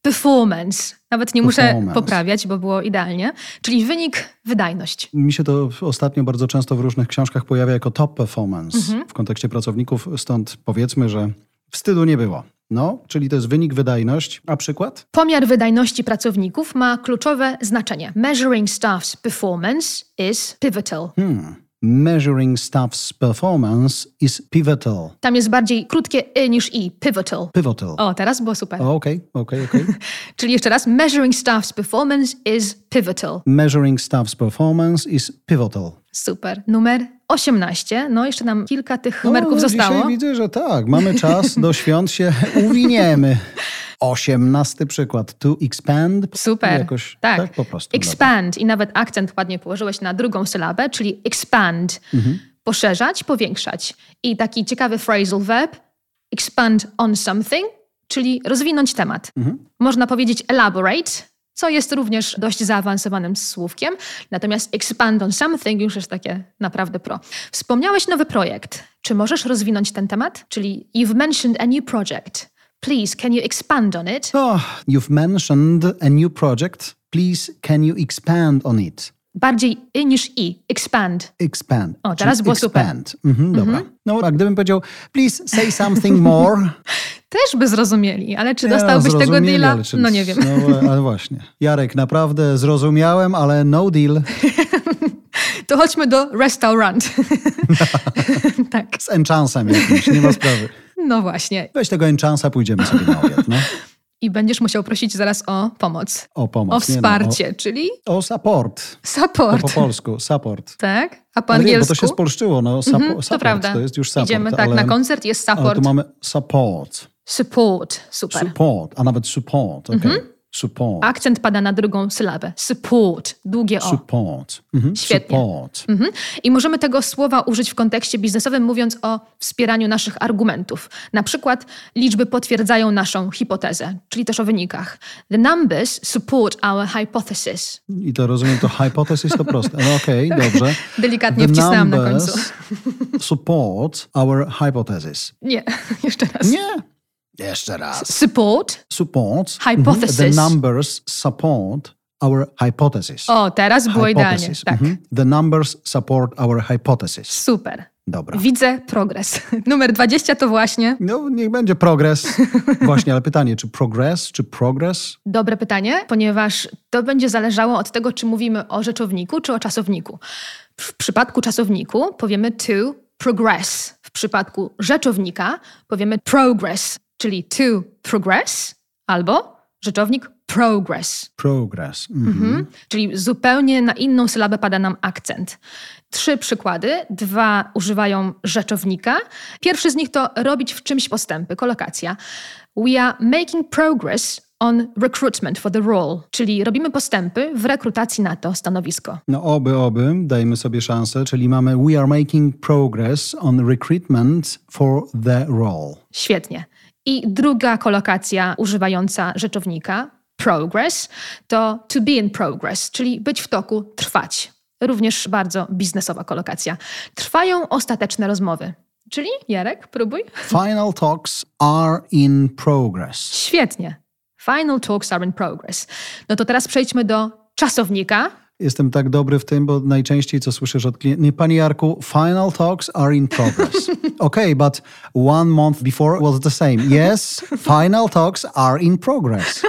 Speaker 1: Performance. Nawet nie muszę
Speaker 2: Performance.
Speaker 1: poprawiać, bo było idealnie. Czyli wynik, wydajność.
Speaker 2: Mi się to ostatnio bardzo często w różnych książkach pojawia jako top performance
Speaker 1: Mhm.
Speaker 2: w kontekście pracowników, stąd powiedzmy, że wstydu nie było. No, czyli to jest wynik, wydajność. A przykład?
Speaker 1: Pomiar wydajności pracowników ma kluczowe znaczenie. Measuring staff's performance is pivotal.
Speaker 2: Hmm. Measuring staff's performance is pivotal.
Speaker 1: Tam jest bardziej krótkie y niż i. Pivotal.
Speaker 2: Pivotal.
Speaker 1: O, teraz było super.
Speaker 2: O, Okej, okej, okej. [laughs]
Speaker 1: Czyli jeszcze raz. Measuring staff's performance is pivotal.
Speaker 2: Measuring staff's performance is pivotal.
Speaker 1: Super. Numer 18. No, jeszcze nam kilka tych numerków
Speaker 2: No,
Speaker 1: zostało.
Speaker 2: Dzisiaj widzę, że tak. Mamy czas, do
Speaker 1: [laughs]
Speaker 2: świąt się uwiniemy. Osiemnasty przykład. To expand.
Speaker 1: Super.
Speaker 2: Jakoś
Speaker 1: tak.
Speaker 2: tak, po prostu.
Speaker 1: Expand i nawet akcent ładnie położyłeś na drugą sylabę, czyli expand. Poszerzać, powiększać. I taki ciekawy phrasal verb expand on something, czyli rozwinąć temat. Można powiedzieć elaborate, co jest również dość zaawansowanym słówkiem, natomiast expand on something już jest takie naprawdę pro. Wspomniałeś nowy projekt. Czy możesz rozwinąć ten temat? Czyli you've mentioned a new project. Please, can you expand on it?
Speaker 2: Oh, you've mentioned a new project. Please, can you expand on it?
Speaker 1: Bardziej y niż i. Expand.
Speaker 2: Expand.
Speaker 1: O, teraz
Speaker 2: Czyli
Speaker 1: było super.
Speaker 2: expand. Mhm, dobra. No, a gdybym powiedział, please say something more.
Speaker 1: Też by zrozumieli, ale czy
Speaker 2: Nie, no,
Speaker 1: dostałbyś tego
Speaker 2: zrozumieli,
Speaker 1: deala?
Speaker 2: ale czy-
Speaker 1: No nie wiem.
Speaker 2: No, ale właśnie. Jarek, naprawdę zrozumiałem, ale no deal
Speaker 1: To chodźmy do restaurant. [laughs] tak,
Speaker 2: z enchansem jakimś, nie ma sprawy.
Speaker 1: no właśnie.
Speaker 2: Weź tego enchansa, pójdziemy sobie na obiad, no.
Speaker 1: I będziesz musiał prosić zaraz o pomoc,
Speaker 2: O pomoc.
Speaker 1: o
Speaker 2: nie no,
Speaker 1: wsparcie, czyli
Speaker 2: o, o support. To
Speaker 1: support.
Speaker 2: po polsku, support.
Speaker 1: tak? A po
Speaker 2: Ale nie, bo to
Speaker 1: angielsku?
Speaker 2: się spolszczyło, no sapo,
Speaker 1: Mhm,
Speaker 2: support, to,
Speaker 1: prawda.
Speaker 2: jest już support.
Speaker 1: Idziemy tak,
Speaker 2: ale,
Speaker 1: na koncert jest
Speaker 2: Ale
Speaker 1: support.
Speaker 2: tu mamy support,
Speaker 1: Support, super. Mhm.
Speaker 2: support, a nawet support, okej. Support.
Speaker 1: Akcent pada na drugą sylabę. Support, długie Tak, o.
Speaker 2: Support. Mhm.
Speaker 1: Świetnie.
Speaker 2: Support.
Speaker 1: Mhm. I możemy tego słowa użyć w kontekście biznesowym, mówiąc o wspieraniu naszych argumentów. Na przykład liczby potwierdzają naszą hipotezę, czyli też o wynikach. The numbers support our hypothesis.
Speaker 2: I to rozumiem, to hypothesis to proste. No,
Speaker 1: [laughs]
Speaker 2: Okej, dobrze.
Speaker 1: Delikatnie wcisnęłam na końcu. [laughs]
Speaker 2: support our hypothesis.
Speaker 1: Nie, [laughs] jeszcze raz.
Speaker 2: Nie. Jeszcze raz.
Speaker 1: Support.
Speaker 2: Support.
Speaker 1: Hypothesis.
Speaker 2: The numbers support our hypothesis.
Speaker 1: O, teraz było idealnie.
Speaker 2: Hypothesis.
Speaker 1: Tak.
Speaker 2: Mhm. The numbers support our hypothesis.
Speaker 1: Super.
Speaker 2: Dobra.
Speaker 1: Widzę progres. [laughs] Numer 20 to właśnie.
Speaker 2: No, niech będzie
Speaker 1: [laughs]
Speaker 2: progres. Właśnie, ale pytanie, czy progress, czy progress?
Speaker 1: Dobre pytanie, ponieważ to będzie zależało od tego, czy mówimy o rzeczowniku, czy o czasowniku. W przypadku czasowniku powiemy to progress. W przypadku rzeczownika powiemy progress, czyli to progress albo rzeczownik progress.
Speaker 2: Progress. Mhm.
Speaker 1: Mhm. Czyli zupełnie na inną sylabę pada nam akcent. Trzy przykłady, dwa używają rzeczownika. Pierwszy z nich to robić w czymś postępy, kolokacja. We are making progress on recruitment for the role, czyli robimy postępy w rekrutacji na to stanowisko.
Speaker 2: No oby, oby, dajmy sobie szansę, czyli mamy we are making progress on recruitment for the role.
Speaker 1: Świetnie. I druga kolokacja używająca rzeczownika progress to to be in progress, czyli być w toku, trwać. Również bardzo biznesowa kolokacja. Trwają ostateczne rozmowy. Czyli Jarek, próbuj.
Speaker 2: Final talks are in progress.
Speaker 1: Świetnie. Final talks are in progress. No to teraz przejdźmy do czasownika.
Speaker 2: Jestem tak dobry w tym, bo najczęściej co słyszysz od klientów, nie panie Jarku, final talks are
Speaker 1: [laughs]
Speaker 2: in progress. Okay, but one month before was the same. Yes, final talks are in progress.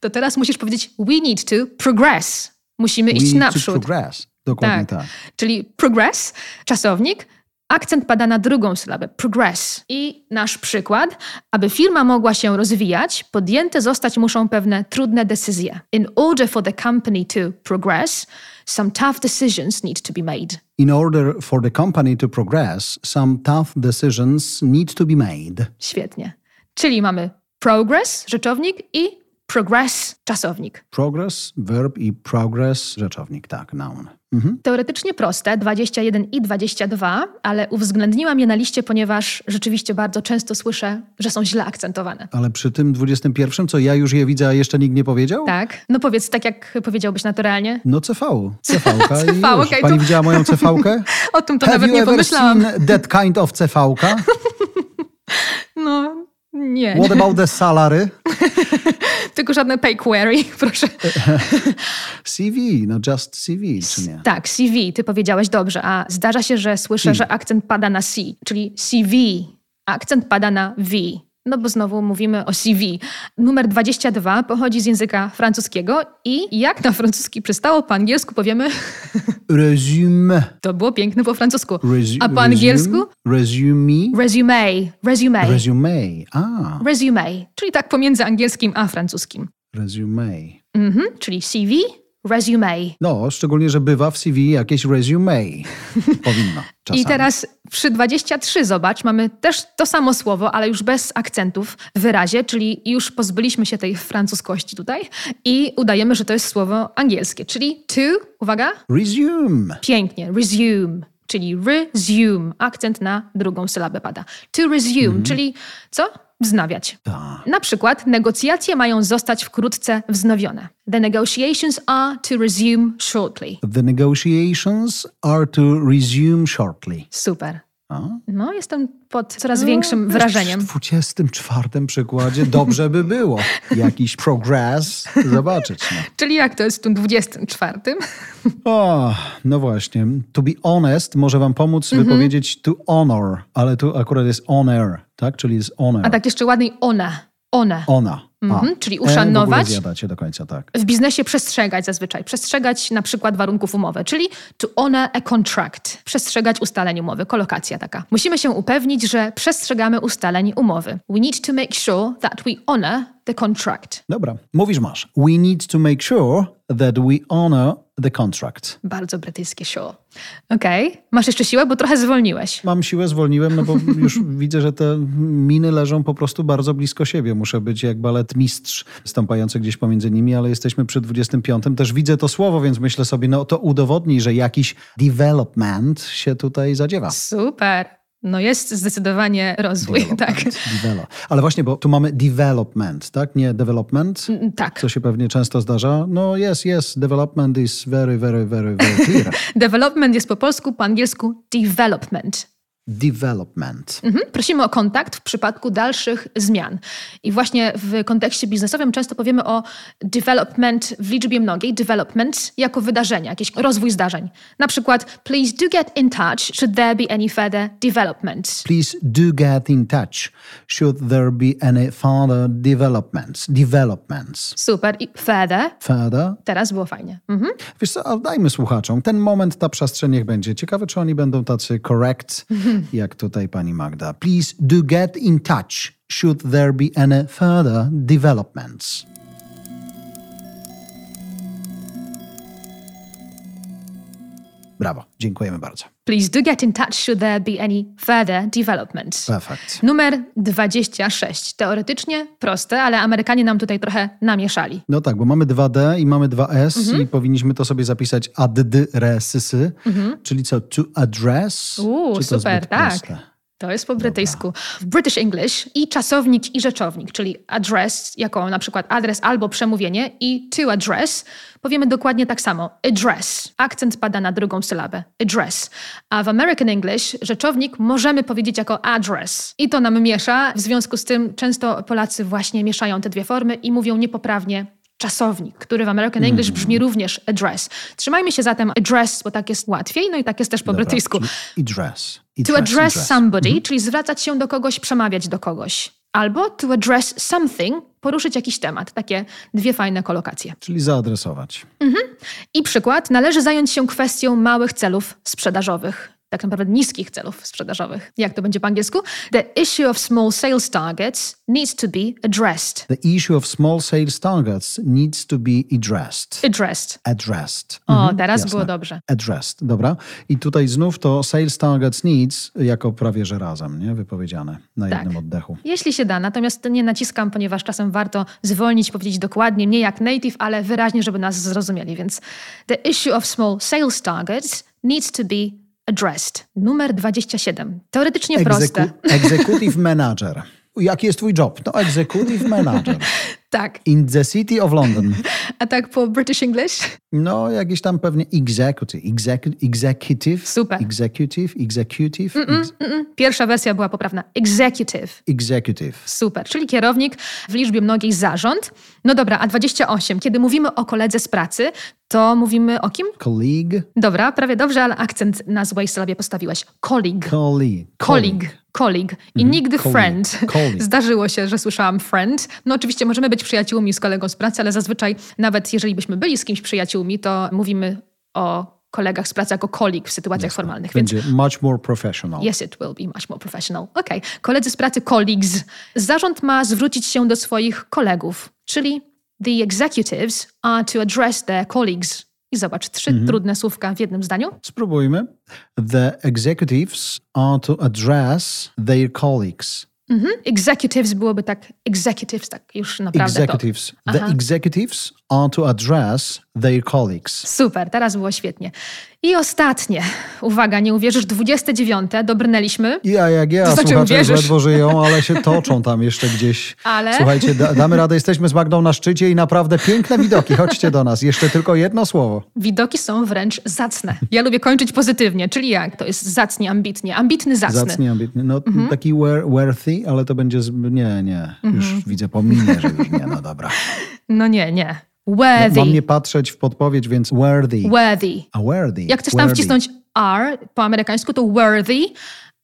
Speaker 1: To teraz musisz powiedzieć we need to progress. Musimy [laughs] iść
Speaker 2: We need to
Speaker 1: naprzód.
Speaker 2: progress. Dokładnie tak.
Speaker 1: Czyli progress, czasownik, akcent pada na drugą sylabę progress. I nasz przykład, aby firma mogła się rozwijać, podjęte zostać muszą pewne trudne decyzje. In order for the company to progress, some tough decisions need to be made.
Speaker 2: In order for the company to progress, some tough decisions need to be made.
Speaker 1: Świetnie. Czyli mamy progress, rzeczownik i progress, czasownik.
Speaker 2: Progress, verb i progress, rzeczownik, tak, noun.
Speaker 1: Teoretycznie proste, 21 i 22, ale uwzględniłam je na liście, ponieważ rzeczywiście bardzo często słyszę, że są źle akcentowane.
Speaker 2: Ale przy tym 21, co ja już je widzę, a jeszcze nikt nie powiedział?
Speaker 1: Tak. No powiedz tak, jak powiedziałbyś naturalnie. [laughs]
Speaker 2: No CV, CV-ka i
Speaker 1: CV,
Speaker 2: już.
Speaker 1: okej,
Speaker 2: Pani
Speaker 1: to-
Speaker 2: widziała moją CV-kę?
Speaker 1: [laughs] O tym to
Speaker 2: Have
Speaker 1: nawet
Speaker 2: you
Speaker 1: nie
Speaker 2: ever
Speaker 1: pomyślałam.
Speaker 2: seen that kind of CV-ka?
Speaker 1: No nie,
Speaker 2: What about the salary?
Speaker 1: tylko żadne pay query, [laughs] proszę.
Speaker 2: CV, no just CV, czy nie?
Speaker 1: Tak, CV, ty powiedziałeś dobrze, a zdarza się, że
Speaker 2: Hmm.
Speaker 1: słyszę, że akcent pada na C, czyli CV, a akcent pada na V. No bo znowu mówimy o CV. Numer 22 pochodzi z języka francuskiego i jak na francuski przystało, po angielsku powiemy, [laughs]
Speaker 2: Resume.
Speaker 1: to było piękne po francusku.
Speaker 2: Resu-
Speaker 1: A po angielsku?
Speaker 2: Resume.
Speaker 1: Resume, resume,
Speaker 2: Resume. A,
Speaker 1: resume, czyli tak pomiędzy angielskim a francuskim.
Speaker 2: resume.
Speaker 1: Mhm, czyli CV, resume.
Speaker 2: No, szczególnie, że bywa w CV jakieś resume. Powinno. Czasami.
Speaker 1: I teraz przy 23 zobacz, mamy też to samo słowo, ale już bez akcentów w wyrazie, czyli już pozbyliśmy się tej francuskości tutaj i udajemy, że to jest słowo angielskie, czyli to, uwaga,
Speaker 2: Resume.
Speaker 1: pięknie, resume, czyli resume, akcent na drugą sylabę pada. To resume, czyli co? Wznawiać.
Speaker 2: Ta.
Speaker 1: Na przykład negocjacje mają zostać wkrótce wznowione. The negotiations are to resume shortly.
Speaker 2: The negotiations are to resume shortly.
Speaker 1: Super.
Speaker 2: A?
Speaker 1: No, jestem pod coraz większym wrażeniem.
Speaker 2: W 24 przykładzie dobrze by było jakiś progress zobaczyć. No.
Speaker 1: Czyli jak to jest w tym 24?
Speaker 2: O, no właśnie. To be honest może wam pomóc
Speaker 1: Mhm.
Speaker 2: wypowiedzieć to honor, ale tu akurat jest honor, tak? Czyli jest honor.
Speaker 1: A tak jeszcze ładniej ona. Ona.
Speaker 2: Ona. A.
Speaker 1: Mhm, czyli
Speaker 2: E w ogóle
Speaker 1: uszanować.
Speaker 2: Zjadacie do końca, tak.
Speaker 1: W biznesie przestrzegać zazwyczaj. Przestrzegać na przykład warunków umowy, czyli to honor a contract. Przestrzegać ustaleń umowy. Kolokacja taka. Musimy się upewnić, że przestrzegamy ustaleń umowy. We need to make sure that we honor the the contract.
Speaker 2: Dobra, mówisz masz. We need to make sure that we honor the contract.
Speaker 1: Bardzo brytyjskie show. Okej. Masz jeszcze siłę, bo trochę zwolniłeś.
Speaker 2: Mam siłę, zwolniłem,
Speaker 1: [laughs]
Speaker 2: no bo już widzę, że te miny leżą po prostu bardzo blisko siebie. Muszę być jak balet mistrz stąpający gdzieś pomiędzy nimi, ale jesteśmy przy 25. Też widzę to słowo, więc myślę sobie, no to udowodni, że jakiś development się tutaj zadziewa.
Speaker 1: Super. No jest zdecydowanie rozwój, [laughs] tak.
Speaker 2: Develo. Ale właśnie, bo tu mamy development, tak? Nie development,
Speaker 1: Mm, Tak.
Speaker 2: co się pewnie często zdarza. No yes, yes, development is very, very, very, very
Speaker 1: [laughs]
Speaker 2: clear.
Speaker 1: Development jest po polsku, po angielsku development.
Speaker 2: development.
Speaker 1: Mhm. Prosimy o kontakt w przypadku dalszych zmian. I właśnie w kontekście biznesowym często powiemy o development w liczbie mnogiej, development jako wydarzenie, jakiś rozwój zdarzeń. Na przykład, please do get in touch should there be any further development.
Speaker 2: Please do get in touch should there be any further developments. Developments.
Speaker 1: Super. I further.
Speaker 2: Further.
Speaker 1: Teraz było fajnie. Mhm.
Speaker 2: Wiesz co, a dajmy słuchaczom. Ten moment, ta przestrzeń niech będzie. Ciekawe, czy oni będą tacy correct, jak tutaj pani Magda. Please do get in touch should there be any further developments. Brawo, dziękujemy bardzo.
Speaker 1: Please do get in touch should there be any further development.
Speaker 2: Perfekt.
Speaker 1: Numer 26. Teoretycznie proste, ale Amerykanie nam tutaj trochę namieszali.
Speaker 2: No tak, bo mamy 2D i mamy 2S
Speaker 1: Mhm.
Speaker 2: i powinniśmy to sobie zapisać addressy, czyli co, to address?
Speaker 1: Mhm. Uuu,
Speaker 2: Czy to
Speaker 1: super,
Speaker 2: zbyt
Speaker 1: tak.
Speaker 2: proste?
Speaker 1: To jest po brytyjsku. W British English i czasownik i rzeczownik, czyli address jako na przykład adres albo przemówienie i to address powiemy dokładnie tak samo. Address. Akcent pada na drugą sylabę. Address. A w American English rzeczownik możemy powiedzieć jako address. I to nam miesza. W związku z tym często Polacy właśnie mieszają te dwie formy i mówią niepoprawnie czasownik, który w American
Speaker 2: Mhm.
Speaker 1: English brzmi również address. Trzymajmy się zatem address, bo tak jest łatwiej, no i tak jest też po
Speaker 2: Dobra,
Speaker 1: brytyjsku.
Speaker 2: czyli Address.
Speaker 1: To address somebody,
Speaker 2: Mhm.
Speaker 1: czyli zwracać się do kogoś, przemawiać do kogoś. Albo to address something, poruszyć jakiś temat. Takie dwie fajne kolokacje.
Speaker 2: Czyli zaadresować.
Speaker 1: I przykład, należy zająć się kwestią małych celów sprzedażowych. Tak naprawdę niskich celów sprzedażowych. Jak to będzie po angielsku? The issue of small sales targets needs to be addressed.
Speaker 2: The issue of small sales targets needs to be addressed.
Speaker 1: Addressed.
Speaker 2: Addressed.
Speaker 1: O,
Speaker 2: Mhm,
Speaker 1: teraz
Speaker 2: jasne.
Speaker 1: było dobrze.
Speaker 2: Addressed, dobra. I tutaj znów to sales targets needs jako prawie że razem, nie? Wypowiedziane na
Speaker 1: Tak.
Speaker 2: jednym oddechu.
Speaker 1: Jeśli się da, natomiast nie naciskam, ponieważ czasem warto zwolnić, powiedzieć dokładnie, nie jak native, ale wyraźnie, żeby nas zrozumieli. Więc the issue of small sales targets needs to be addressed. Numer 27. Teoretycznie proste.
Speaker 2: Execu- executive manager. Jaki jest twój job? No, executive manager.
Speaker 1: Tak.
Speaker 2: In the city of London. [laughs]
Speaker 1: A tak po British English?
Speaker 2: No, jakiś tam pewnie executive. Execu- executive.
Speaker 1: Super.
Speaker 2: Executive. Executive. Ex-
Speaker 1: Mm, Pierwsza wersja była poprawna. Executive.
Speaker 2: executive.
Speaker 1: Super, czyli kierownik w liczbie mnogiej zarząd. No dobra, a 28. Kiedy mówimy o koledze z pracy, to mówimy o kim?
Speaker 2: Colleague.
Speaker 1: Dobra, prawie dobrze, ale akcent na złej sylabie postawiłeś. Colleague.
Speaker 2: Colleague. Mhm.
Speaker 1: Colleague. Colleague. I nigdy
Speaker 2: colleague,
Speaker 1: friend.
Speaker 2: colleague.
Speaker 1: Zdarzyło się, że słyszałam friend. No oczywiście możemy być przyjaciółmi z kolegą z pracy, ale zazwyczaj nawet jeżeli byśmy byli z kimś przyjaciółmi, to mówimy o kolegach z pracy jako colleague w sytuacjach formalnych. Więc
Speaker 2: Będzie much more professional.
Speaker 1: Yes, it will be much more professional. Okej. Koledzy z pracy, colleagues. Zarząd ma zwrócić się do swoich kolegów, czyli the executives are to address their colleagues. I zobacz, trzy
Speaker 2: Mhm.
Speaker 1: trudne słówka w jednym zdaniu.
Speaker 2: Spróbujmy. The executives are to address their colleagues.
Speaker 1: Hmm? Executives byłoby tak, executives, tak już naprawdę to.
Speaker 2: executives. The executives are to address their colleagues.
Speaker 1: Super, teraz było świetnie. I ostatnie, uwaga, nie uwierzysz, 29, dobrnęliśmy.
Speaker 2: Ja, jak ja,
Speaker 1: To znaczy,
Speaker 2: słuchacze już
Speaker 1: wierzysz?
Speaker 2: ledwo żyją, ale się toczą tam jeszcze gdzieś.
Speaker 1: [laughs] Ale-
Speaker 2: Słuchajcie, da, damy radę, jesteśmy z Magdą na szczycie i naprawdę piękne widoki. Chodźcie do nas. Jeszcze tylko jedno słowo.
Speaker 1: Widoki są wręcz zacne. Ja lubię kończyć pozytywnie, czyli jak? To jest zacnie, ambitnie. Ambitny, zacny.
Speaker 2: Zacnie, ambitnie. No
Speaker 1: Mhm.
Speaker 2: taki wor- worthy, ale to będzie... Z... Nie, nie. Już widzę, pominę, że już nie. No dobra.
Speaker 1: No nie, nie. Worthy.
Speaker 2: Mam nie patrzeć w podpowiedź, więc worthy.
Speaker 1: Worthy.
Speaker 2: A worthy.
Speaker 1: Jak chcesz tam
Speaker 2: worthy.
Speaker 1: wcisnąć R po amerykańsku, to worthy,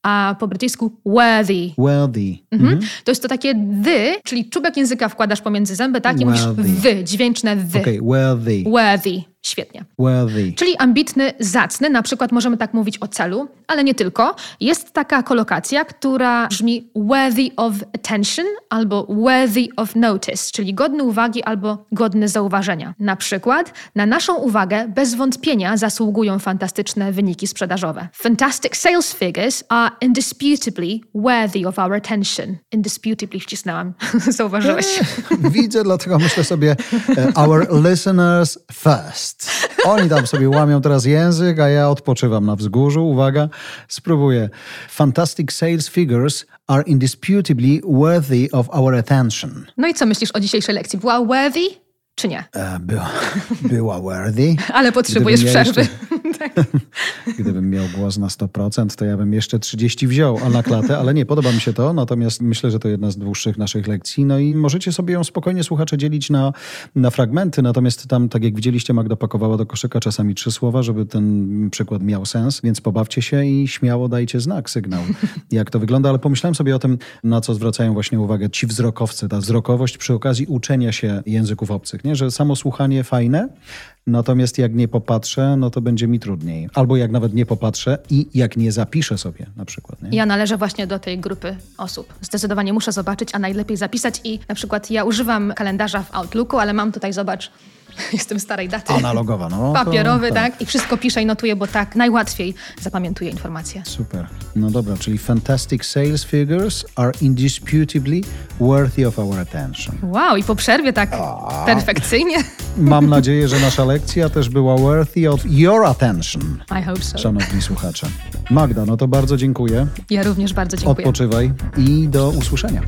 Speaker 1: a po brytyjsku worthy.
Speaker 2: Worthy.
Speaker 1: Mhm. To jest to takie dy, czyli czubek języka wkładasz pomiędzy zęby, tak? I mówisz
Speaker 2: Worthy.
Speaker 1: wy, dźwięczne wy.
Speaker 2: Okej, worthy.
Speaker 1: Worthy. Świetnie.
Speaker 2: Worthy.
Speaker 1: Czyli ambitny, zacny, na przykład możemy tak mówić o celu, ale nie tylko. Jest taka kolokacja, która brzmi worthy of attention albo worthy of notice, czyli godny uwagi albo godny zauważenia. Na przykład na naszą uwagę bez wątpienia zasługują fantastyczne wyniki sprzedażowe. Fantastic sales figures are indisputably worthy of our attention. Indisputably wcisnęłam, [laughs] zauważyłeś.
Speaker 2: E, Widzę, dlatego myślę sobie e, our listeners first. Oni tam sobie łamią teraz język, a ja odpoczywam na wzgórzu. Uwaga, spróbuję. Fantastic sales figures are indisputably worthy of our attention.
Speaker 1: No i co myślisz o dzisiejszej lekcji? Była worthy czy nie?
Speaker 2: E, była, była worthy.
Speaker 1: Ale potrzebujesz
Speaker 2: Gdybym ja
Speaker 1: przerwy. [laughs] tak.
Speaker 2: Gdybym miał głos na 100%, to ja bym jeszcze 30 wziął a na klatę, ale nie, podoba mi się to. Natomiast myślę, że to jedna z dłuższych naszych lekcji. No i możecie sobie ją spokojnie, słuchacze, dzielić na, na fragmenty. Natomiast tam, tak jak widzieliście, Magda pakowała do koszyka czasami trzy słowa, żeby ten przykład miał sens. Więc pobawcie się i śmiało dajcie znak, sygnał, [laughs] jak to wygląda. Ale pomyślałem sobie o tym, na co zwracają właśnie uwagę ci wzrokowcy. Ta wzrokowość przy okazji uczenia się języków obcych, nie? Że samo słuchanie fajne, Natomiast jak nie popatrzę, no to będzie mi trudniej. Albo jak nawet nie popatrzę i jak nie zapiszę sobie na
Speaker 1: [laughs]
Speaker 2: przykład. Nie?
Speaker 1: Ja należę właśnie do tej grupy osób. Zdecydowanie muszę zobaczyć, a najlepiej zapisać. I na przykład ja używam kalendarza w Outlooku, ale mam tutaj, zobacz, [laughs] jestem starej daty.
Speaker 2: Analogowa, no. to-
Speaker 1: Papierowy, tak. I wszystko piszę i notuję, bo tak najłatwiej zapamiętuję informacje.
Speaker 2: Super. No dobra, czyli fantastic sales figures are indisputably worthy of our attention.
Speaker 1: Wow, i po przerwie tak perfekcyjnie.
Speaker 2: Mam nadzieję, że nasza lekcja też była worthy of your attention,
Speaker 1: I hope so.
Speaker 2: szanowni słuchacze. Magda, no to bardzo dziękuję.
Speaker 1: Ja również bardzo dziękuję.
Speaker 2: Odpoczywaj i do usłyszenia.